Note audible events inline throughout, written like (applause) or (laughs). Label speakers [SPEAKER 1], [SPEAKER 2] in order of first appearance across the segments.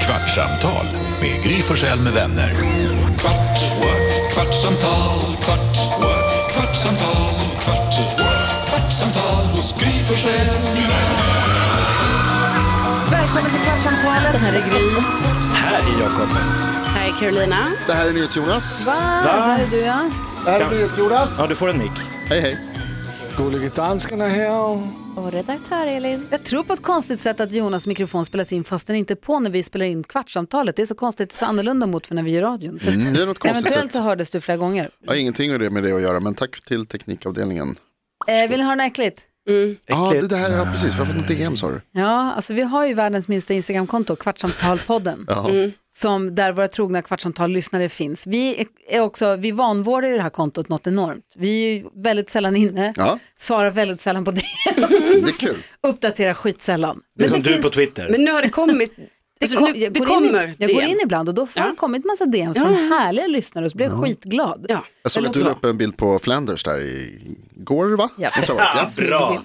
[SPEAKER 1] Kvartsamtal med Gry Forssell med vänner. Kvart, what? kvartsamtal, kvart, what? kvartsamtal, kvart, what? kvartsamtal hos Gry Forssell med vänner.
[SPEAKER 2] Välkommen till Kvartsamtalet. Det här är Gry.
[SPEAKER 3] Här är Jakob.
[SPEAKER 4] Här är Carolina.
[SPEAKER 5] Det här är NyhetsJonas.
[SPEAKER 2] Va? Här är du ja.
[SPEAKER 5] Det här är NyhetsJonas.
[SPEAKER 3] Ja, du får en mick.
[SPEAKER 5] Hej, hej. Mm,
[SPEAKER 6] Gullige danskarna här.
[SPEAKER 7] Och redaktör Elin.
[SPEAKER 2] Jag tror på ett konstigt sätt att Jonas mikrofon spelas in fast den inte är på när vi spelar in Kvartsamtalet. Det är så konstigt, så annorlunda mot för när vi gör radion. Så
[SPEAKER 5] Mm, det är något konstigt
[SPEAKER 2] eventuellt
[SPEAKER 5] sätt.
[SPEAKER 2] så hördes du flera gånger.
[SPEAKER 5] Jag har ingenting med det, med det att göra, men tack till teknikavdelningen.
[SPEAKER 2] Eh, vill ni höra något äckligt?
[SPEAKER 5] Ja, ah, det där, ja, precis. Varför inte DM sa du?
[SPEAKER 2] Ja, alltså vi har ju världens minsta Instagramkonto, Kvartsamtalpodden. som där våra trogna kvartsamtal-lyssnare finns. Vi, är också, vi vanvårdar ju det här kontot något enormt. Vi är ju väldigt sällan inne,
[SPEAKER 5] Ja.
[SPEAKER 2] svarar väldigt sällan på det,
[SPEAKER 5] Det är kul.
[SPEAKER 2] uppdaterar skitsällan.
[SPEAKER 3] Det är som Liksom du på Twitter.
[SPEAKER 4] Men nu har det (laughs) kommit. alltså,
[SPEAKER 2] Kom-
[SPEAKER 4] nu, det
[SPEAKER 2] jag går
[SPEAKER 4] kommer.
[SPEAKER 2] In, jag
[SPEAKER 4] det
[SPEAKER 2] går
[SPEAKER 4] igen.
[SPEAKER 2] in ibland och då har det kommit massa DMs från härliga lyssnare och så blev jag skitglad.
[SPEAKER 4] Ja.
[SPEAKER 5] Jag såg
[SPEAKER 2] Det
[SPEAKER 5] att du
[SPEAKER 2] låter
[SPEAKER 5] la upp en bild på Flanders där igår, va?
[SPEAKER 2] Ja.
[SPEAKER 5] Det sa jag, ja.
[SPEAKER 3] Bra.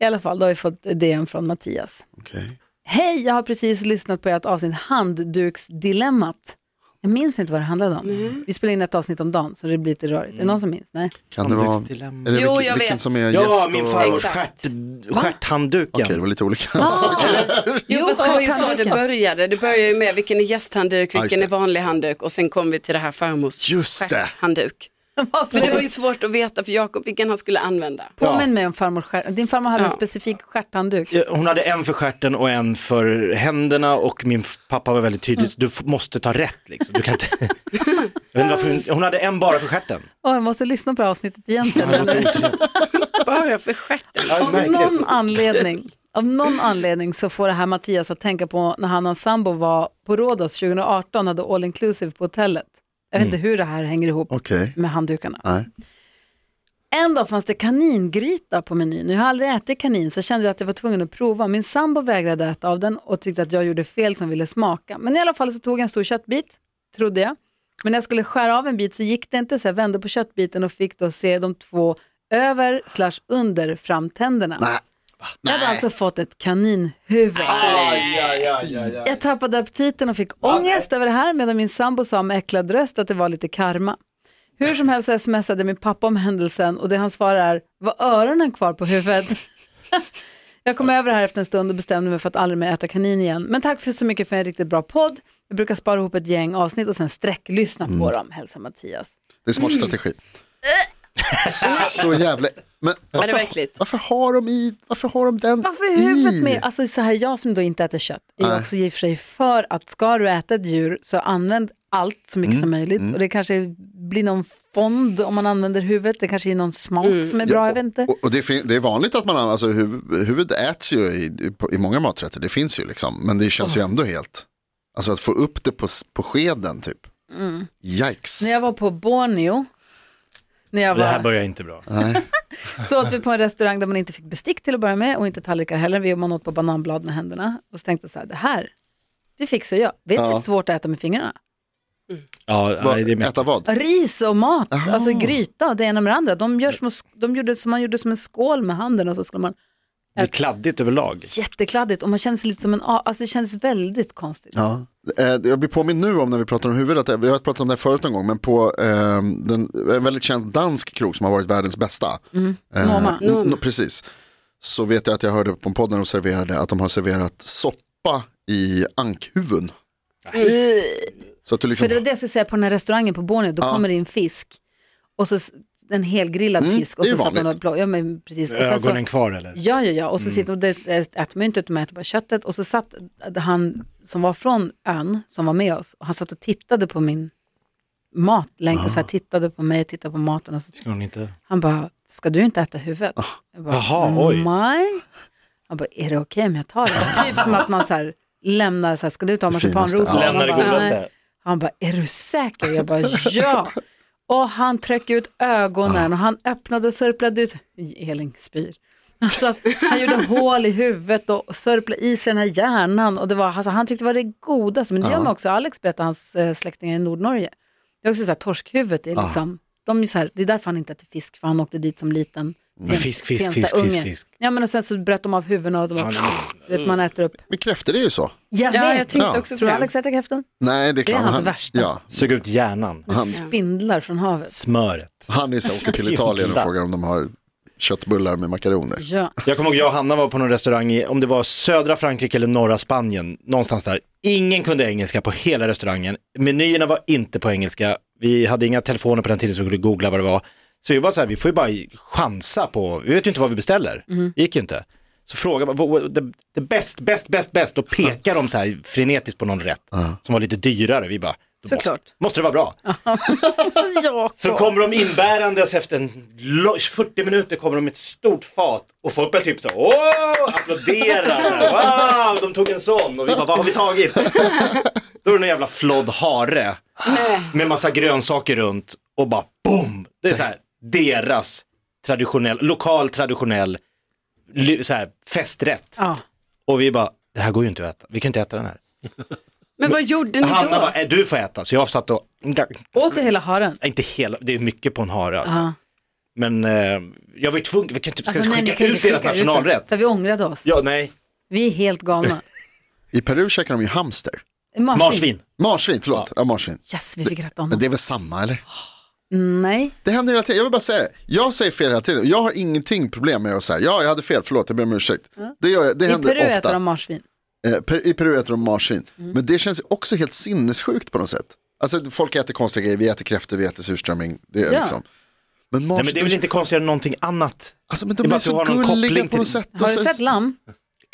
[SPEAKER 2] I alla fall, då har vi fått DM från Mattias.
[SPEAKER 5] Okej.
[SPEAKER 2] Hej, jag har precis lyssnat på ert avsnitt Handduksdilemmat. Jag minns inte vad det handlade om. Vi spelar in ett avsnitt om dagen så det blir lite rörigt. Är det någon som minns? Nej.
[SPEAKER 5] Kan det vara...
[SPEAKER 3] Handduksdilemma.
[SPEAKER 5] Är det
[SPEAKER 4] Jo,
[SPEAKER 5] vilken,
[SPEAKER 4] jag
[SPEAKER 5] vilken
[SPEAKER 4] vet.
[SPEAKER 5] som är
[SPEAKER 3] Ja,
[SPEAKER 5] gäst
[SPEAKER 3] min
[SPEAKER 5] och-
[SPEAKER 3] farmors
[SPEAKER 4] Exakt.
[SPEAKER 3] stjärt, stjärthandduken.
[SPEAKER 5] Okej, det var lite olika.
[SPEAKER 4] Jo, fast det var ju så det
[SPEAKER 2] stjärthandduken.
[SPEAKER 4] började. Det började ju med vilken är gästhandduk,
[SPEAKER 5] Ja, just
[SPEAKER 4] vilken är
[SPEAKER 5] det.
[SPEAKER 4] vanlig handduk och sen kom vi till det här farmors
[SPEAKER 5] Just det.
[SPEAKER 4] stjärthandduk. För det var ju svårt att veta för Jakob vilken han skulle använda.
[SPEAKER 2] Påminn mig om farmor skär... Din farmor hade en
[SPEAKER 4] Ja.
[SPEAKER 2] specifik stjärthandduk.
[SPEAKER 3] Eh, Hon hade en för stjärten och en för händerna och min f- pappa var väldigt
[SPEAKER 2] Mm.
[SPEAKER 3] tydlig, så du f- måste ta rätt liksom. Du kan inte... jag vet inte varför, hon- hon hade en bara för stjärten.
[SPEAKER 2] Åh, jag måste lyssna på det här avsnittet igen. känner jag nu.
[SPEAKER 4] Bara för stjärten.
[SPEAKER 2] (laughs) Av
[SPEAKER 5] (laughs)
[SPEAKER 2] någon anledning, av någon anledning så får det här Mattias att tänka på när han och hans sambo var på Rhodos 2018 hade all inclusive på hotellet. Jag vet inte hur det här hänger ihop
[SPEAKER 5] Mm. Okej. Ah.
[SPEAKER 2] med handdukarna.
[SPEAKER 5] Nej.
[SPEAKER 2] En dag fanns det kaningryta på menyn. Jag har aldrig ätit kanin så jag kände att jag var tvungen att prova. Min sambo vägrade äta av den och tyckte att jag gjorde fel som ville smaka. Men i alla fall så tog jag en stor köttbit, trodde jag. Men när jag skulle skära av en bit så gick det inte så jag vände på köttbiten och fick då se de två över slash under framtänderna.
[SPEAKER 5] Nej.
[SPEAKER 2] Jag hade alltså fått ett kaninhuvud. Jag tappade aptiten och fick ångest över det här medan min sambo sa med äcklad röst att det var lite karma. Hur som helst så smsade min pappa om händelsen och det han svarar är, var öronen kvar på huvudet? (laughs) jag kom över det här efter en stund och bestämde mig för att aldrig mer äta kanin igen. Men tack för så mycket för en riktigt bra podd. Jag brukar spara ihop ett gäng avsnitt och sen sträcklyssna på dem, hälsar Mattias.
[SPEAKER 5] Det är smart strategi. Så jävla... Men
[SPEAKER 4] Ja, det var
[SPEAKER 5] varför,
[SPEAKER 4] äckligt.
[SPEAKER 5] varför har de i... Varför har de den
[SPEAKER 2] Varför är huvudet
[SPEAKER 5] i?
[SPEAKER 2] med? Alltså så här, jag som då inte äter kött är ju också i och för sig för att ska du äta ett djur så använd allt så mycket
[SPEAKER 5] Mm,
[SPEAKER 2] som möjligt. Och det kanske blir någon fond om man använder huvudet. Det kanske är någon smak
[SPEAKER 3] Mm.
[SPEAKER 2] som är bra, jag vet inte.
[SPEAKER 5] Och, och det, fin- det är vanligt att man använder, alltså huv, huvud äts ju i, på, i många maträtter, det finns ju liksom, men det känns ju ändå helt, alltså att få upp det på, s- på skeden typ.
[SPEAKER 2] Mm.
[SPEAKER 5] Yikes.
[SPEAKER 2] När jag var på Borneo, när jag
[SPEAKER 3] Det här
[SPEAKER 2] var,
[SPEAKER 3] börjar inte bra.
[SPEAKER 2] så åt vi på en restaurang där man inte fick bestick till att börja med och inte tallrikar heller. Vi- Man åt på bananblad med händerna och så tänkte jag så här, det här, det fixar jag. Vet du hur svårt att äta med fingrarna?
[SPEAKER 3] Ja,
[SPEAKER 5] Va,
[SPEAKER 3] nej, det är mycket.
[SPEAKER 5] äta vad?
[SPEAKER 2] Ris och mat, alltså gryta och det ena med det andra. De, gör små, de gjorde som man gjorde som en skål med handen och så skulle man,
[SPEAKER 3] Det är kladdigt överlag.
[SPEAKER 2] jättekladdigt och man känner sig lite som en, a- alltså det känns väldigt konstigt.
[SPEAKER 5] Ja. Eh, Jag blir påminn nu om när vi pratar om huvudet, vi har pratat om det här förut någon gång, men på eh, den, en väldigt känd dansk krog som har varit världens bästa.
[SPEAKER 2] Mm.
[SPEAKER 5] Eh,
[SPEAKER 2] Norma.
[SPEAKER 5] n- n- precis. Så vet jag att jag hörde på en podd när de serverade att de har serverat soppa i ankhuvuden. Så att du liksom
[SPEAKER 2] Mm. För det var det jag skulle säga på den här restaurangen på Borneo, då kommer det in fisk och så s- en helgrillad fisk och
[SPEAKER 5] Mm, det är
[SPEAKER 2] så satt man
[SPEAKER 5] vanligt. Mm.
[SPEAKER 2] och blå, ja men precis. Och sen så,
[SPEAKER 3] Ögonen kvar eller?
[SPEAKER 2] Ja, ja, ja. Och så sitter och det det äter man ju inte utan man äter bara köttet. Och så satt han som var från ön, som var med oss, och han satt och tittade på min mat länge, så
[SPEAKER 5] Ah.
[SPEAKER 2] här, tittade på mig, tittade på maten och så
[SPEAKER 3] Ska hon inte?
[SPEAKER 2] Han bara, ska du inte äta huvudet? Jag bara,
[SPEAKER 3] Jaha, oj.
[SPEAKER 2] Nej. Han bara, är det okej om jag tar det? Typ som att man så här, lämnar, så här, ska du ta marsipanros?
[SPEAKER 5] finaste, ja.
[SPEAKER 2] Han
[SPEAKER 3] Lämnar det
[SPEAKER 2] bara,
[SPEAKER 3] godaste.
[SPEAKER 2] "Nej." Han bara, är du säker? Jag bara, ja. Och han tryckte ut ögonen och han öppnade och sörplade ut, Elin spyr. Alltså, att han gjorde hål i huvudet och sörplade i sig den här hjärnan. Och det var, alltså, han tyckte det var det godaste, men det gör man också. Alex berättade hans eh, släktingar i Nordnorge. Det är också så här, torskhuvudet är liksom, de är så här, det är därför han inte äter fisk, för han åkte dit som liten
[SPEAKER 3] Men fisk, fisk,
[SPEAKER 2] Tensta
[SPEAKER 3] fisk, fisk,
[SPEAKER 2] ungen.
[SPEAKER 3] fisk.
[SPEAKER 2] Ja, men och sen så bröt de av huvudena och de bara, du vet, man äter upp.
[SPEAKER 5] Men kräftor är ju så.
[SPEAKER 2] Jag
[SPEAKER 4] Ja,
[SPEAKER 2] vet.
[SPEAKER 4] jag tänkte
[SPEAKER 5] Ja.
[SPEAKER 4] också på
[SPEAKER 2] Tror du
[SPEAKER 4] det.
[SPEAKER 2] Alex äter kräftor?
[SPEAKER 5] Nej, det är klart.
[SPEAKER 2] hans
[SPEAKER 5] han,
[SPEAKER 2] värsta.
[SPEAKER 5] Ja,
[SPEAKER 3] Sug ut hjärnan.
[SPEAKER 2] Spindlar från havet.
[SPEAKER 3] Smöret.
[SPEAKER 5] han är så, åker
[SPEAKER 2] (laughs)
[SPEAKER 5] till Italien och frågar om de har köttbullar med makaroner.
[SPEAKER 2] Ja. (laughs)
[SPEAKER 3] Jag kommer ihåg, jag och Hanna var på någon restaurang i, om det var södra Frankrike eller norra Spanien, någonstans där. Ingen kunde engelska på hela restaurangen. Menyerna var inte på engelska. Vi hade inga telefoner på den tiden så vi kunde googla vad det var. Så vi var så här, vi får ju bara chansa på, vi vet ju inte vad vi beställer. gick ju inte. Så frågade man, "What- what- the, the best, best, best, best, och pekar de så här frenetiskt på någon rätt som var lite dyrare. Vi bara, "Då måste,
[SPEAKER 2] Såklart.
[SPEAKER 3] måste det vara bra.
[SPEAKER 2] Jakob.
[SPEAKER 3] Så kommer de inbärandes efter en lo- 40 minuter kommer de med ett stort fat och folk börjar typ så här, åh, applåderar, wow, de tog en sån och vi bara, vad har vi tagit? Då är det någon jävla flodd hare med massa grönsaker runt och bara boom, det är så här, deras traditionell, lokal traditionell ly- så här, festrätt.
[SPEAKER 2] Ja.
[SPEAKER 3] Och vi bara, det här går ju inte att äta, vi kan inte äta den här.
[SPEAKER 4] Men vad gjorde ni
[SPEAKER 3] Hanna bara,
[SPEAKER 4] då?
[SPEAKER 3] "Äh, du får äta, så jag satt och,
[SPEAKER 2] Åt du hela haren?
[SPEAKER 3] inte hela, det är mycket på en hare alltså.
[SPEAKER 2] Ja. Alltså,
[SPEAKER 3] Men eh, jag var ju tvungen, vi kan inte ska vi
[SPEAKER 2] nej,
[SPEAKER 3] skicka
[SPEAKER 2] ni kan
[SPEAKER 3] ut
[SPEAKER 2] inte
[SPEAKER 3] deras
[SPEAKER 2] skicka ut Ah, den.
[SPEAKER 3] nationalrätt.
[SPEAKER 2] Så vi ångrade oss.
[SPEAKER 3] Ja, nej,
[SPEAKER 2] Vi är helt galna.
[SPEAKER 5] I Peru käkar de ju hamster.
[SPEAKER 2] Marsvin.
[SPEAKER 3] marsvin.
[SPEAKER 5] Marsvin, förlåt. Ja, marsvin.
[SPEAKER 2] Yes, vi fick rätt om
[SPEAKER 5] Men det
[SPEAKER 2] det...
[SPEAKER 5] är väl samma eller?
[SPEAKER 2] Nej,
[SPEAKER 5] Det händer hela tiden. Jag vill bara säga det. Jag säger fel hela tiden. Jag har ingenting problem med att säga, ja jag hade fel, förlåt, jag ber om ursäkt. Det, gör jag, det
[SPEAKER 2] Mm. i
[SPEAKER 5] händer
[SPEAKER 2] Peru
[SPEAKER 5] ofta.
[SPEAKER 2] äter de Mm. marsvin.
[SPEAKER 5] Eh, per, I Peru äter de marsvin. Men det känns också helt sinnessjukt på något sätt. Alltså folk äter konstiga grejer, vi äter kräftor, vi äter surströmming. Det är
[SPEAKER 2] Ja.
[SPEAKER 5] liksom. Men
[SPEAKER 3] Nej,
[SPEAKER 5] marsvin,
[SPEAKER 3] men det är väl inte konstigare än någonting annat.
[SPEAKER 5] alltså, men
[SPEAKER 3] det är
[SPEAKER 5] de
[SPEAKER 3] bara
[SPEAKER 5] är
[SPEAKER 3] att du har
[SPEAKER 5] så
[SPEAKER 3] någon
[SPEAKER 5] gulliga
[SPEAKER 3] koppling
[SPEAKER 5] på något
[SPEAKER 3] till-
[SPEAKER 5] sätt.
[SPEAKER 2] Har du
[SPEAKER 5] Alltså,
[SPEAKER 2] sett lamm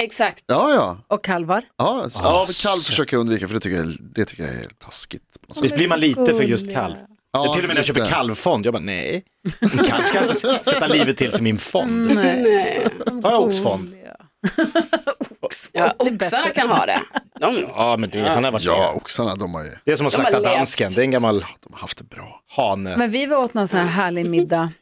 [SPEAKER 4] Exakt.
[SPEAKER 5] Ja, ja.
[SPEAKER 2] och kalvar?
[SPEAKER 5] Ja, så, ja kalv försöker jag undvika för det tycker jag, det tycker jag är taskigt. På något sätt.
[SPEAKER 3] Visst blir man
[SPEAKER 2] så
[SPEAKER 3] lite för just
[SPEAKER 2] gulliga.
[SPEAKER 3] kalv?
[SPEAKER 5] Ja,
[SPEAKER 3] jag till och med när jag köper
[SPEAKER 5] lite.
[SPEAKER 3] kalvfond, jag bara nej, en kalv ska inte sätta livet till för min fond.
[SPEAKER 2] Mm,
[SPEAKER 3] Nej. Har jag oxfond?
[SPEAKER 4] Ja,
[SPEAKER 2] Det är bättre.
[SPEAKER 4] oxarna kan ha det. De,
[SPEAKER 3] Ja, men det, han har varit
[SPEAKER 5] Ja,
[SPEAKER 3] med.
[SPEAKER 5] oxarna de har ju
[SPEAKER 3] Det är som att
[SPEAKER 4] De har
[SPEAKER 3] slakta
[SPEAKER 4] levt.
[SPEAKER 3] dansken, det är en gammal
[SPEAKER 5] de har haft det bra.
[SPEAKER 3] hane.
[SPEAKER 2] Men vi var åt någon sån här härlig middag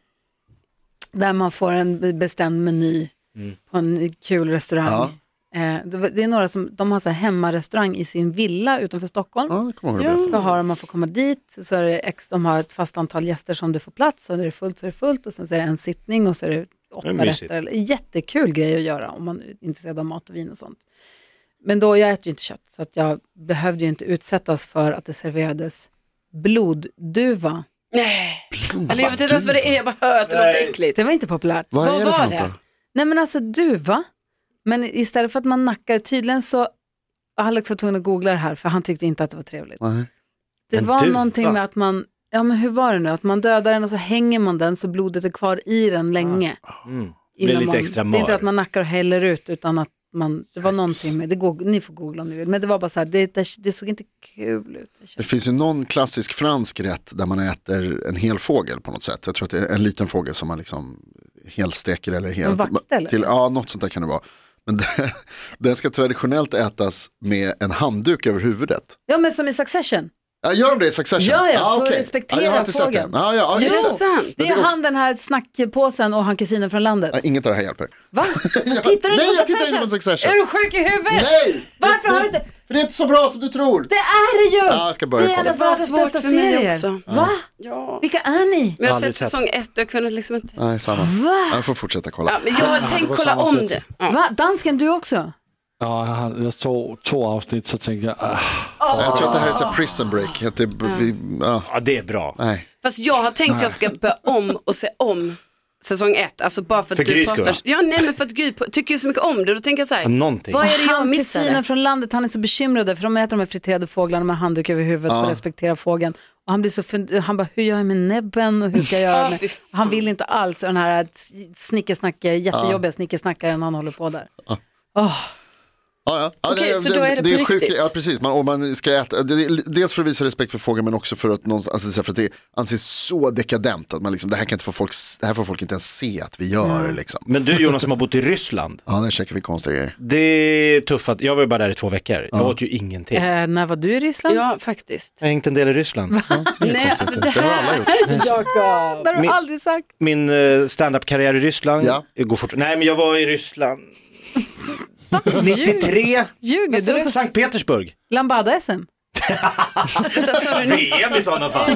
[SPEAKER 2] där man får en be- bestämd meny
[SPEAKER 3] Mm.
[SPEAKER 2] på en kul restaurang. Eh, det var- Det är några som, de har så här hemmarestaurang i sin villa utanför
[SPEAKER 3] Ah.
[SPEAKER 2] Stockholm.
[SPEAKER 5] Ja, det kommer jag ihåg.
[SPEAKER 2] Så har de, man får komma dit, så är det ex, de har ett fast antal gäster som du får plats, och när det är fullt så är det fullt, och sen så är det en sittning och så är det åtta
[SPEAKER 3] Det är mysigt.
[SPEAKER 2] rätter. Eller- Jättekul grej att göra om man är intresserad av mat och vin och sånt. Men då, jag äter ju inte kött, så att jag behövde ju inte utsättas för att det serverades blodduva.
[SPEAKER 4] nej. Eller jag vet inte ens vad det är, jag bara hör att det låter äckligt.
[SPEAKER 2] Det var inte populärt.
[SPEAKER 5] Vad,
[SPEAKER 4] Vad
[SPEAKER 5] är det för
[SPEAKER 4] var
[SPEAKER 5] något
[SPEAKER 4] det?
[SPEAKER 5] då?
[SPEAKER 2] Nej men alltså duva, men istället för att man nackar, tydligen så, Alex var tvungen att googla det här för han tyckte inte att det var trevligt.
[SPEAKER 5] Nej.
[SPEAKER 2] Det
[SPEAKER 3] En
[SPEAKER 2] var
[SPEAKER 3] duva?
[SPEAKER 2] någonting med att man, ja men hur var det nu, att man dödar den och så hänger man den så blodet är kvar i den länge.
[SPEAKER 5] Ah,
[SPEAKER 3] Mm.
[SPEAKER 2] Innan
[SPEAKER 3] Blir lite
[SPEAKER 2] man,
[SPEAKER 3] extra
[SPEAKER 2] Det är inte
[SPEAKER 3] mör.
[SPEAKER 2] att man nackar och häller ut utan att man, det var någonting med, det går, ni får googla om ni vill, men det var bara så här, det, det, det såg inte kul ut.
[SPEAKER 5] Det finns ju någon klassisk fransk rätt där man äter en hel fågel på något sätt. Jag tror att det är en liten fågel som man liksom helsteker eller helt.
[SPEAKER 2] En vakt, eller?
[SPEAKER 5] Till, ja, något sånt där kan det vara. Men (laughs) det, den ska traditionellt ätas med en handduk över huvudet.
[SPEAKER 2] Ja men som i Succession,
[SPEAKER 5] Ja, gör de det i Succession? Ah,
[SPEAKER 2] Ja, ja, för
[SPEAKER 5] okej.
[SPEAKER 2] att respektera
[SPEAKER 5] ja, jag har inte sett det.
[SPEAKER 2] fågeln.
[SPEAKER 5] Ja, ja, ja,
[SPEAKER 4] Jo.
[SPEAKER 5] exakt.
[SPEAKER 4] sant.
[SPEAKER 5] Men
[SPEAKER 2] det är
[SPEAKER 5] också-
[SPEAKER 2] han den här snackpåsen och han kusinen från landet.
[SPEAKER 5] Ja, inget av det här hjälper. (laughs)
[SPEAKER 2] Va?
[SPEAKER 5] Ja,
[SPEAKER 2] Tittar du
[SPEAKER 5] nej,
[SPEAKER 2] inte på
[SPEAKER 5] jag tittar
[SPEAKER 2] Succession?
[SPEAKER 5] inte på Succession.
[SPEAKER 2] Är du sjuk i huvudet?
[SPEAKER 5] Nej!
[SPEAKER 2] Varför har du inte-
[SPEAKER 5] För det är inte så bra som du tror.
[SPEAKER 2] Det är det ju!
[SPEAKER 5] Ja, jag ska börja
[SPEAKER 2] det är
[SPEAKER 5] kolla.
[SPEAKER 2] en av
[SPEAKER 4] Det var
[SPEAKER 2] världens
[SPEAKER 4] svårt
[SPEAKER 2] bästa
[SPEAKER 4] för mig
[SPEAKER 2] serier.
[SPEAKER 4] också.
[SPEAKER 2] Va?
[SPEAKER 4] Ja.
[SPEAKER 2] Vilka är ni?
[SPEAKER 4] Men jag har
[SPEAKER 3] Aldrig
[SPEAKER 4] sett
[SPEAKER 3] sett.
[SPEAKER 4] säsong ett och jag kunde liksom inte.
[SPEAKER 5] Nej, samma.
[SPEAKER 2] Va?
[SPEAKER 5] Jag får fortsätta kolla.
[SPEAKER 4] Ja, men jag har tänkt kolla
[SPEAKER 6] samma
[SPEAKER 4] om
[SPEAKER 6] sätt.
[SPEAKER 4] det. Ja.
[SPEAKER 2] Va? Dansken, du också?
[SPEAKER 6] Ja, jag, har, jag såg två avsnitt, så tänkte jag, ah,
[SPEAKER 5] Jag tror att det här är så här prison break. Att det, vi, ja,
[SPEAKER 3] Ja, det är bra.
[SPEAKER 5] nej.
[SPEAKER 4] Fast jag har tänkt att jag ska börja om och se om säsong ett. Alltså bara för att
[SPEAKER 3] För
[SPEAKER 4] du
[SPEAKER 3] Grys
[SPEAKER 4] pratar.
[SPEAKER 3] skull?
[SPEAKER 4] Ja, nej men för att Gry p- tycker ju så mycket om det. Då tänker jag så här.
[SPEAKER 3] Någonting.
[SPEAKER 4] Vad är det jag
[SPEAKER 2] han, kusinen
[SPEAKER 4] missade?
[SPEAKER 2] från landet, han är så bekymrad där, för de äter de här friterade fåglarna med handduk över huvudet för att respektera fågeln. Och han blir så fund- han bara, hur gör jag med näbben och hur ska jag göra med...
[SPEAKER 4] fy
[SPEAKER 2] Och Han vill inte alls den här s- snickesnacke, jättejobbiga snickersnackaren han håller på där.
[SPEAKER 5] Ja, ja. ja
[SPEAKER 4] Okej, så då är det på
[SPEAKER 5] sjukt.
[SPEAKER 4] riktigt.
[SPEAKER 5] Ja, precis. Man, och man ska äta, det, det- dels för att visa respekt för fågeln men också för att, någonstans- alltså, så här, för att det anses så dekadent. Att man liksom, det, här kan inte få folk, det här får folk inte ens se att vi gör. Liksom.
[SPEAKER 3] Men du Jonas som har bott i Ryssland,
[SPEAKER 5] Ja, där käkar vi konstiga grejer.
[SPEAKER 3] det är tufft att, jag var ju bara där i två veckor, jag åt ju ingenting.
[SPEAKER 2] Eh, när var du i Ryssland?
[SPEAKER 4] Ja, faktiskt.
[SPEAKER 3] Jag har hängt en del i Ryssland.
[SPEAKER 4] Nej, alltså det här.
[SPEAKER 2] Jakob. Det har du
[SPEAKER 3] Min-
[SPEAKER 2] aldrig sagt.
[SPEAKER 3] min eh, stand-up-karriär i Ryssland.
[SPEAKER 5] Ja.
[SPEAKER 3] Jag Går fort. Nej, men jag var i Ryssland 93,
[SPEAKER 2] Ljuger du? Alltså,
[SPEAKER 3] Sankt Petersburg.
[SPEAKER 2] Lambada-SM?
[SPEAKER 4] Sluta, sa du, ni-
[SPEAKER 3] VM i sådana fall.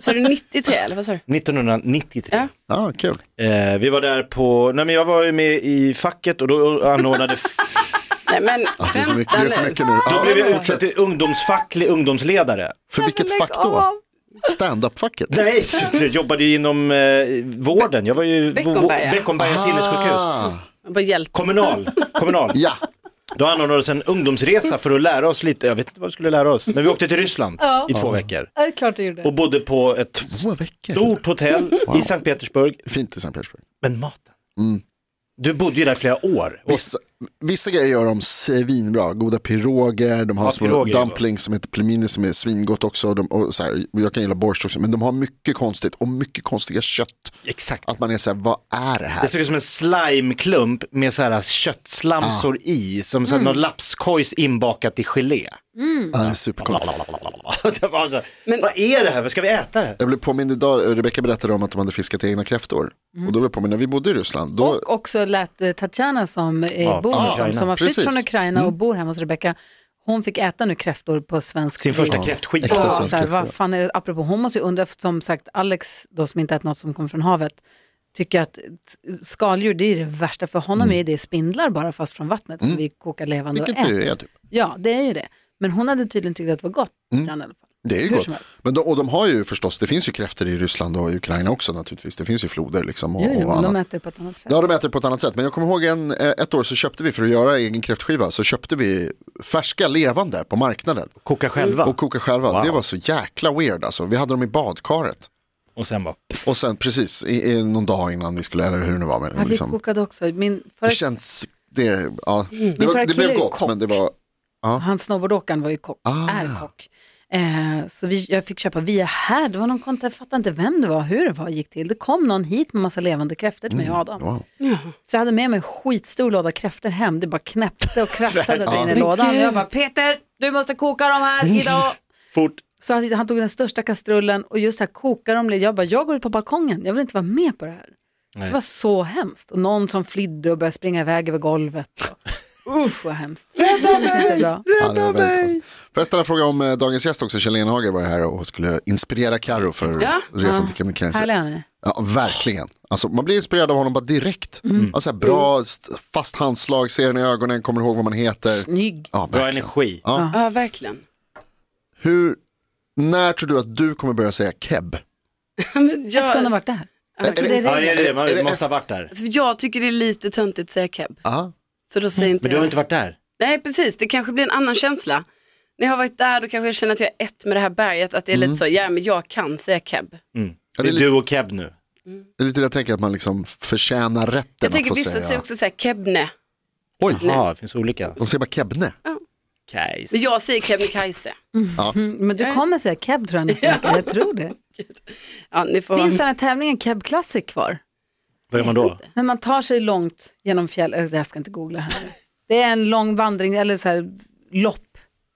[SPEAKER 4] sa du 93 eller vad sa du?
[SPEAKER 3] 1993.
[SPEAKER 4] Ja.
[SPEAKER 5] Ja, kul.
[SPEAKER 3] Eh, vi var där på, nej men jag var ju med i facket och då anordnade, f-
[SPEAKER 4] Nej men
[SPEAKER 5] Alltså, det, är så mycket,
[SPEAKER 4] vänta
[SPEAKER 5] det är så
[SPEAKER 4] nu.
[SPEAKER 5] mycket nu.
[SPEAKER 3] då
[SPEAKER 5] Ja,
[SPEAKER 3] blev jag utsedd
[SPEAKER 5] fortsätt.
[SPEAKER 3] till ungdomsfacklig ungdomsledare.
[SPEAKER 5] För vilket fack då? Stand-up-facket?
[SPEAKER 3] Nej, jag jobbade ju inom eh, vården, jag var ju
[SPEAKER 4] Beckomberga.
[SPEAKER 3] Beckomberga, Beckomberga sinnessjukhus.
[SPEAKER 5] Ah,
[SPEAKER 4] Jag Bara hjälp.
[SPEAKER 3] Kommunal, kommunal.
[SPEAKER 5] ja,
[SPEAKER 3] Då anordnades en ungdomsresa för att lära oss lite, jag vet inte vad vi skulle lära oss, men vi åkte till Ryssland i två veckor.
[SPEAKER 2] Ja, det är klart du gjorde.
[SPEAKER 3] Och bodde på ett
[SPEAKER 5] två veckor.
[SPEAKER 3] stort hotell i Sankt Petersburg,
[SPEAKER 5] Fint i Sankt Petersburg.
[SPEAKER 3] men maten. Du bodde ju där flera år. Och
[SPEAKER 5] Vissa, vissa grejer gör de svinbra, goda piroger, de har
[SPEAKER 3] Ja,
[SPEAKER 5] små
[SPEAKER 3] piroger är
[SPEAKER 5] dumplings som heter plimini som är svingott också. De, och så här, jag kan gilla borscht också, men de har mycket konstigt och mycket konstiga kött.
[SPEAKER 3] Exakt.
[SPEAKER 5] Att man är så här, vad är det
[SPEAKER 3] Det
[SPEAKER 5] här?
[SPEAKER 3] såg ut som en slimeklump med så här köttslamsor i, som så
[SPEAKER 2] Mm.
[SPEAKER 3] här någon lapskojs inbakat i gelé. (laughs)
[SPEAKER 5] Ah, superkonstigt.
[SPEAKER 3] Det var så här,
[SPEAKER 4] Men-
[SPEAKER 3] Vad är det här? Vad ska vi äta det här?
[SPEAKER 5] Jag blev påmind idag, Rebecka berättade om att de hade fiskat egna kräftor. Och då blev jag påmind, när vi bodde i Ryssland, då,
[SPEAKER 2] Mm. Och också lät eh, Tatjana som eh,
[SPEAKER 3] Ja, Mm.
[SPEAKER 2] bor
[SPEAKER 3] från
[SPEAKER 2] hos dem,
[SPEAKER 3] Ukraina.
[SPEAKER 2] som har flytt
[SPEAKER 5] Precis.
[SPEAKER 2] från Ukraina och bor hemma hos Rebecka, hon fick äta nu kräftor på svensk
[SPEAKER 3] Sin första
[SPEAKER 2] vis.
[SPEAKER 3] kräftskiva.
[SPEAKER 5] Äkta
[SPEAKER 2] Ja,
[SPEAKER 5] svensk
[SPEAKER 2] så här,
[SPEAKER 5] kräfta.
[SPEAKER 2] vad fan är det, apropå hon måste ju undra, för som sagt Alex då som inte ätit något som kommer från havet, tycker att s- skaldjur det är det värsta för honom är det spindlar bara fast från vattnet som vi kokar levande
[SPEAKER 5] Mm. vilket
[SPEAKER 2] och
[SPEAKER 5] det
[SPEAKER 2] äter.
[SPEAKER 5] ju är typ.
[SPEAKER 2] Ja, det är ju det. Men hon hade tydligen tyckt att det var gott. Jan, i alla fall.
[SPEAKER 5] Mm. Det är ju
[SPEAKER 2] Hur
[SPEAKER 5] gott.
[SPEAKER 2] som helst.
[SPEAKER 5] Men de, och de har ju förstås, det finns ju kräftor i Ryssland och Ukraina också naturligtvis. Det finns ju floder liksom och,
[SPEAKER 2] Jo, jo,
[SPEAKER 5] och
[SPEAKER 2] men de
[SPEAKER 5] annat.
[SPEAKER 2] äter det på ett annat sätt.
[SPEAKER 5] Ja, de äter det på ett annat sätt. Men jag kommer ihåg en, eh, ett år så köpte vi, för att göra egen kräftskiva, så köpte vi färska levande på marknaden.
[SPEAKER 3] Koka själva.
[SPEAKER 5] Och
[SPEAKER 3] Och,
[SPEAKER 5] koka själva.
[SPEAKER 3] Wow.
[SPEAKER 5] Det var så jäkla weird alltså. Vi hade dem i badkaret.
[SPEAKER 3] sen bara,
[SPEAKER 5] Och sen precis, i, i, någon dag innan vi skulle, eller hur det nu var.
[SPEAKER 2] Ja,
[SPEAKER 5] Men,
[SPEAKER 2] vi
[SPEAKER 5] liksom,
[SPEAKER 2] kokade också. Min
[SPEAKER 5] det
[SPEAKER 2] förra,
[SPEAKER 5] känns, det, ja, det,
[SPEAKER 2] Min förra
[SPEAKER 5] var, det
[SPEAKER 2] kille är
[SPEAKER 5] blev
[SPEAKER 2] ju
[SPEAKER 5] gott
[SPEAKER 2] kock.
[SPEAKER 5] men det var,
[SPEAKER 2] han snowboardåkaren var ju kock, är kock. Eh, så vi, jag fick köpa via här, det var någon kontakt, jag fattar inte vem det var, hur det var, gick till. Det kom någon hit med massa levande kräftor till mig och Adam.
[SPEAKER 5] wow.
[SPEAKER 2] Så jag hade med mig en skitstor låda kräftor hem, det bara knäppte och krafsade där inne i
[SPEAKER 4] Men
[SPEAKER 2] lådan.
[SPEAKER 4] gud.
[SPEAKER 2] Jag bara, Peter, du måste koka dem här idag.
[SPEAKER 3] fort.
[SPEAKER 2] Så han, han tog den största kastrullen och just här kokar de. Jag bara, jag går ut på balkongen, jag vill inte vara med på det här. Det var så hemskt. Och någon som flydde och började springa iväg över golvet. Och, usch vad hemskt. Det kändes inte bra.
[SPEAKER 5] Ja, det var väldigt konstigt. Får jag ställa en fråga om eh, dagens gäst också? Kjell Enhage var ju här och skulle inspirera Karo för resan till Kebnekaise.
[SPEAKER 2] Härlig han är.
[SPEAKER 5] Ja, verkligen. Alltså, man blir inspirerad av honom bara direkt.
[SPEAKER 4] Mm.
[SPEAKER 5] Alltså, bra, st- fast handslag, ser den i ögonen, kommer ihåg vad man heter.
[SPEAKER 2] Snygg.
[SPEAKER 5] Ja,
[SPEAKER 3] Bra
[SPEAKER 5] verkligen.
[SPEAKER 3] energi.
[SPEAKER 4] Ja verkligen. (laughs)
[SPEAKER 5] Hur, när tror du att du kommer börja säga keb?
[SPEAKER 4] Men
[SPEAKER 2] Efter hon har
[SPEAKER 4] jag,
[SPEAKER 2] varit där.
[SPEAKER 5] Är- är
[SPEAKER 2] tror
[SPEAKER 5] det-
[SPEAKER 2] det är
[SPEAKER 3] Ja, det är det.
[SPEAKER 5] Är det-
[SPEAKER 3] Man måste ha varit där.
[SPEAKER 4] alltså, jag tycker det är lite töntigt att säga keb.
[SPEAKER 5] Ja,
[SPEAKER 4] Så då säger inte
[SPEAKER 3] Men du har
[SPEAKER 4] jag.
[SPEAKER 3] inte varit där.
[SPEAKER 4] Nej precis, det kanske blir en annan känsla. När jag har varit där då kanske jag känner att jag är ett med det här berget. Att det är
[SPEAKER 5] Mm.
[SPEAKER 4] lite så, ja men jag kan säga keb.
[SPEAKER 5] Ja,
[SPEAKER 3] Det
[SPEAKER 5] det är
[SPEAKER 3] är
[SPEAKER 5] lite-
[SPEAKER 3] du och Keb nu.
[SPEAKER 5] det är lite det jag tänker att man liksom förtjänar rätten
[SPEAKER 4] Jag tänker
[SPEAKER 5] att få
[SPEAKER 4] vissa
[SPEAKER 5] säga.
[SPEAKER 4] säger också så här kebne.
[SPEAKER 5] Oj,
[SPEAKER 3] Ja, det finns olika.
[SPEAKER 5] de säger bara kebne.
[SPEAKER 4] Men jag säger Kebnekaise.
[SPEAKER 2] Mm, Men du kommer säga keb
[SPEAKER 4] (laughs)
[SPEAKER 2] tror jag nästa vecka. Jag tror det.
[SPEAKER 4] Ja, ni får...
[SPEAKER 2] Finns den här tävlingen Keb Classic kvar?
[SPEAKER 3] Vad gör man då?
[SPEAKER 2] När man tar sig långt genom fjällen. Jag ska inte googla här. nu. Det är en lång vandring eller så här lopp.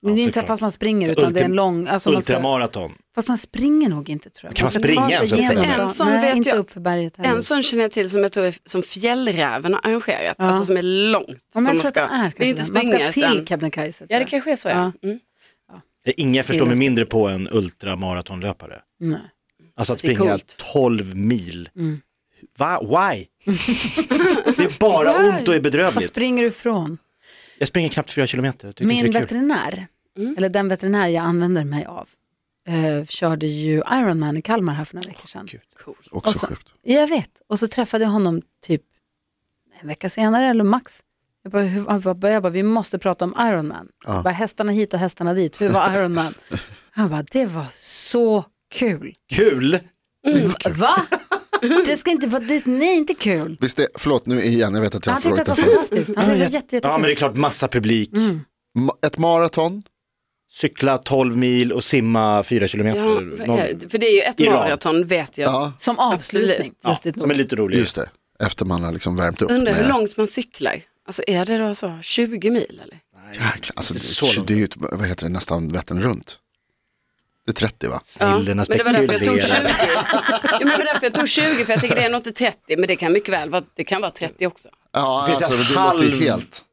[SPEAKER 2] Men det är inte så här
[SPEAKER 3] såklart.
[SPEAKER 2] fast man springer
[SPEAKER 3] Så
[SPEAKER 2] utan det är en
[SPEAKER 3] ultim-
[SPEAKER 2] lång. Alltså man ska,
[SPEAKER 3] Ultramaraton.
[SPEAKER 2] fast man springer nog inte tror jag.
[SPEAKER 3] Kan man
[SPEAKER 2] ska
[SPEAKER 3] springa
[SPEAKER 2] ta
[SPEAKER 3] alltså, ens
[SPEAKER 2] sig
[SPEAKER 3] upp för
[SPEAKER 2] igenom
[SPEAKER 3] den?
[SPEAKER 2] bra-
[SPEAKER 4] En sån
[SPEAKER 2] Nej,
[SPEAKER 4] Alltså, vet
[SPEAKER 2] inte
[SPEAKER 4] jag-
[SPEAKER 2] upp för berget heller.
[SPEAKER 4] En sån känner jag till som jag tror är som Fjällräven har arrangerat. Alltså som är långt.
[SPEAKER 2] Ja, men
[SPEAKER 4] som
[SPEAKER 2] jag tror att det är
[SPEAKER 4] men
[SPEAKER 2] kanske
[SPEAKER 4] inte
[SPEAKER 2] den.
[SPEAKER 4] springa.
[SPEAKER 2] Man ska till
[SPEAKER 4] utan...
[SPEAKER 2] Kebnekaise. tror
[SPEAKER 4] Ja det
[SPEAKER 2] jag.
[SPEAKER 4] kanske är så
[SPEAKER 2] Ja.
[SPEAKER 4] ja. Mm.
[SPEAKER 3] Det är Ingen förstår mig
[SPEAKER 2] Stilla-
[SPEAKER 3] mindre på en ultramaratonlöpare.
[SPEAKER 2] Nej.
[SPEAKER 3] Alltså att
[SPEAKER 4] Det är
[SPEAKER 3] springa
[SPEAKER 4] coolt. Mm.
[SPEAKER 3] 12 mil. Va?
[SPEAKER 4] (laughs)
[SPEAKER 3] Why? det är bara ont och är
[SPEAKER 2] Vad
[SPEAKER 3] bedrövligt.
[SPEAKER 2] springer du ifrån?
[SPEAKER 3] Jag springer knappt 4 kilometer. Jag tycker
[SPEAKER 2] Min
[SPEAKER 3] inte det är kul.
[SPEAKER 2] veterinär,
[SPEAKER 3] Mm.
[SPEAKER 2] eller den veterinär jag använder mig av, eh, körde ju Ironman i Kalmar här för några veckor sedan.
[SPEAKER 5] Också
[SPEAKER 2] Och
[SPEAKER 4] Alltså-
[SPEAKER 2] så-
[SPEAKER 5] sjukt.
[SPEAKER 2] Jag vet, och så träffade jag honom typ en vecka senare eller max. Jag bara, hur, han bara, jag bara vi måste prata om Ironman. Ja. Bara, hästarna hit och hästarna dit, hur var (laughs) Ironman? Han bara, det var så kul. Mm.
[SPEAKER 3] Kul!
[SPEAKER 2] Va?
[SPEAKER 3] Mm.
[SPEAKER 2] Det ska inte vara, det, nej inte kul.
[SPEAKER 5] Visst är, förlåt nu igen, jag vet att jag har
[SPEAKER 2] Han tyckte
[SPEAKER 5] frågat
[SPEAKER 2] att det var
[SPEAKER 5] det förut.
[SPEAKER 2] fantastiskt. Han tyckte att det var jätte,
[SPEAKER 3] Ja men det är
[SPEAKER 2] jättekul.
[SPEAKER 3] klart massa publik.
[SPEAKER 4] Mm.
[SPEAKER 5] Ma- Ett maraton,
[SPEAKER 3] Cykla 12 mil och simma 4 kilometer.
[SPEAKER 4] Ja,
[SPEAKER 3] Någon-
[SPEAKER 4] vad är det? för det är ju ett
[SPEAKER 3] Iran.
[SPEAKER 4] maraton vet jag.
[SPEAKER 5] ja,
[SPEAKER 2] Som avslutning,
[SPEAKER 4] Absolut.
[SPEAKER 3] Ja,
[SPEAKER 2] lustigt
[SPEAKER 3] som är
[SPEAKER 2] nog.
[SPEAKER 3] lite rolig.
[SPEAKER 5] just det. Efter man har liksom värmt upp.
[SPEAKER 4] Undrar hur
[SPEAKER 5] med-
[SPEAKER 4] långt man cyklar. Alltså är det då så 20 mil eller?
[SPEAKER 5] Jäklar, alltså, det,
[SPEAKER 3] Inte så
[SPEAKER 5] är-
[SPEAKER 3] långt.
[SPEAKER 5] det är ju ett, vad heter det, nästan Vättern runt. Det är 30 va?
[SPEAKER 3] Snillena
[SPEAKER 4] men det var därför jag tog 20.
[SPEAKER 3] spekulerar.
[SPEAKER 4] ja, men det var därför jag tog 20 för jag tänker det är nog inte 30 men det kan mycket väl vara, det kan vara 30 också.
[SPEAKER 5] Ja,
[SPEAKER 3] Det finns
[SPEAKER 5] alltså,
[SPEAKER 3] en
[SPEAKER 5] det låter ju
[SPEAKER 3] halv-
[SPEAKER 5] helt...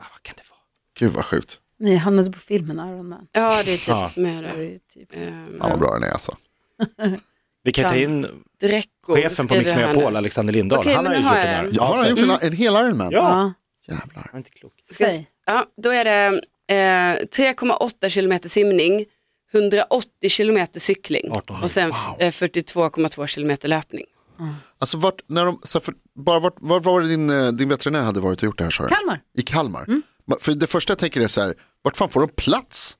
[SPEAKER 3] Ah, Vad kan det vara?
[SPEAKER 5] Gud vad sjukt.
[SPEAKER 2] Nej, jag hamnade på filmen Iron Man.
[SPEAKER 4] Ja, det är typ
[SPEAKER 3] Ja.
[SPEAKER 4] som jag
[SPEAKER 2] Det är
[SPEAKER 4] gör.
[SPEAKER 2] ju typ-
[SPEAKER 4] Ehm,
[SPEAKER 5] Ja, vad bra den är alltså.
[SPEAKER 3] Vi kan ta
[SPEAKER 4] Ja.
[SPEAKER 3] in
[SPEAKER 4] Dräckor
[SPEAKER 3] chefen på
[SPEAKER 4] skriver
[SPEAKER 3] Mix
[SPEAKER 4] jag här nu.
[SPEAKER 3] Megapol, Alexander Lindahl.
[SPEAKER 4] Okej,
[SPEAKER 3] han
[SPEAKER 4] men
[SPEAKER 3] har ju
[SPEAKER 4] nu
[SPEAKER 3] gjort
[SPEAKER 4] har
[SPEAKER 3] den
[SPEAKER 4] jag
[SPEAKER 3] här.
[SPEAKER 4] den.
[SPEAKER 5] Ja, har han gjort en, en hel Iron Man?
[SPEAKER 3] mm. Ja,
[SPEAKER 2] Ja,
[SPEAKER 5] Jävlar.
[SPEAKER 3] han är inte klok.
[SPEAKER 4] Ska
[SPEAKER 2] säg.
[SPEAKER 4] s- Ja, då är det eh, 3,8 kilometer simning, 180 kilometer cykling
[SPEAKER 3] 18.
[SPEAKER 4] och sen f- eh, 42,2 kilometer löpning.
[SPEAKER 5] Alltså vart, när de, så här, för, bara vart, var, var var det din, eh, din veterinär hade varit och gjort det här sa du?
[SPEAKER 2] Kalmar,
[SPEAKER 5] I Kalmar.
[SPEAKER 4] Mm.
[SPEAKER 5] Ma- För det första jag tänker är så här, vart fan får de plats?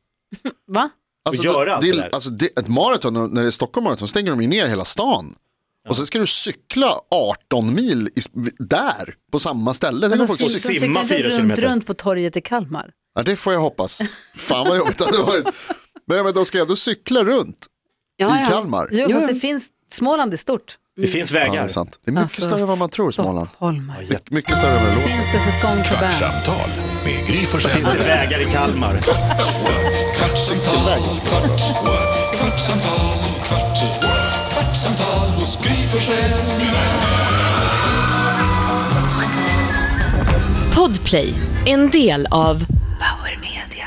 [SPEAKER 2] va?
[SPEAKER 5] Alltså,
[SPEAKER 3] Och göra
[SPEAKER 5] det-
[SPEAKER 3] allt
[SPEAKER 5] det,
[SPEAKER 3] det där.
[SPEAKER 5] alltså det, ett maraton, när det är Stockholm maraton, stänger de ju ner hela stan. Och sen ska du cykla 18 mil i, där, på samma ställe. Tänk om folk
[SPEAKER 2] de
[SPEAKER 5] cyklar.
[SPEAKER 3] cykla-
[SPEAKER 2] cyklar-
[SPEAKER 3] simma
[SPEAKER 2] de cyklar
[SPEAKER 3] fyra
[SPEAKER 2] runt,
[SPEAKER 3] kilometer.
[SPEAKER 2] runt på torget i Kalmar.
[SPEAKER 5] Ja, det får jag hoppas. Fan vad jobbigt det hade varit. Men, men de ska ändå cykla runt
[SPEAKER 4] Ja,
[SPEAKER 5] i
[SPEAKER 4] ja.
[SPEAKER 5] Kalmar.
[SPEAKER 2] Jo,
[SPEAKER 4] Jo,
[SPEAKER 2] fast
[SPEAKER 4] jo.
[SPEAKER 2] det finns, Småland är stort.
[SPEAKER 3] Det finns
[SPEAKER 5] Ja, det är
[SPEAKER 3] vägar.
[SPEAKER 5] sant. Det är mycket
[SPEAKER 2] Alltså,
[SPEAKER 5] större än vad man tror, Småland.
[SPEAKER 2] Stockholmare.
[SPEAKER 5] My- Mycket större än vad det låter.
[SPEAKER 2] Finns det säsong för band?
[SPEAKER 1] Kvartsamtal med Gry Forssell
[SPEAKER 3] finns
[SPEAKER 1] med
[SPEAKER 3] det
[SPEAKER 1] vänner.
[SPEAKER 3] vägar i Kalmar.
[SPEAKER 1] Kvartsamtal, kvart, what? kvartsamtal, kvart, what? kvartsamtal hos Gry Forssell med vänner.
[SPEAKER 7] Podplay, en del av Power Media.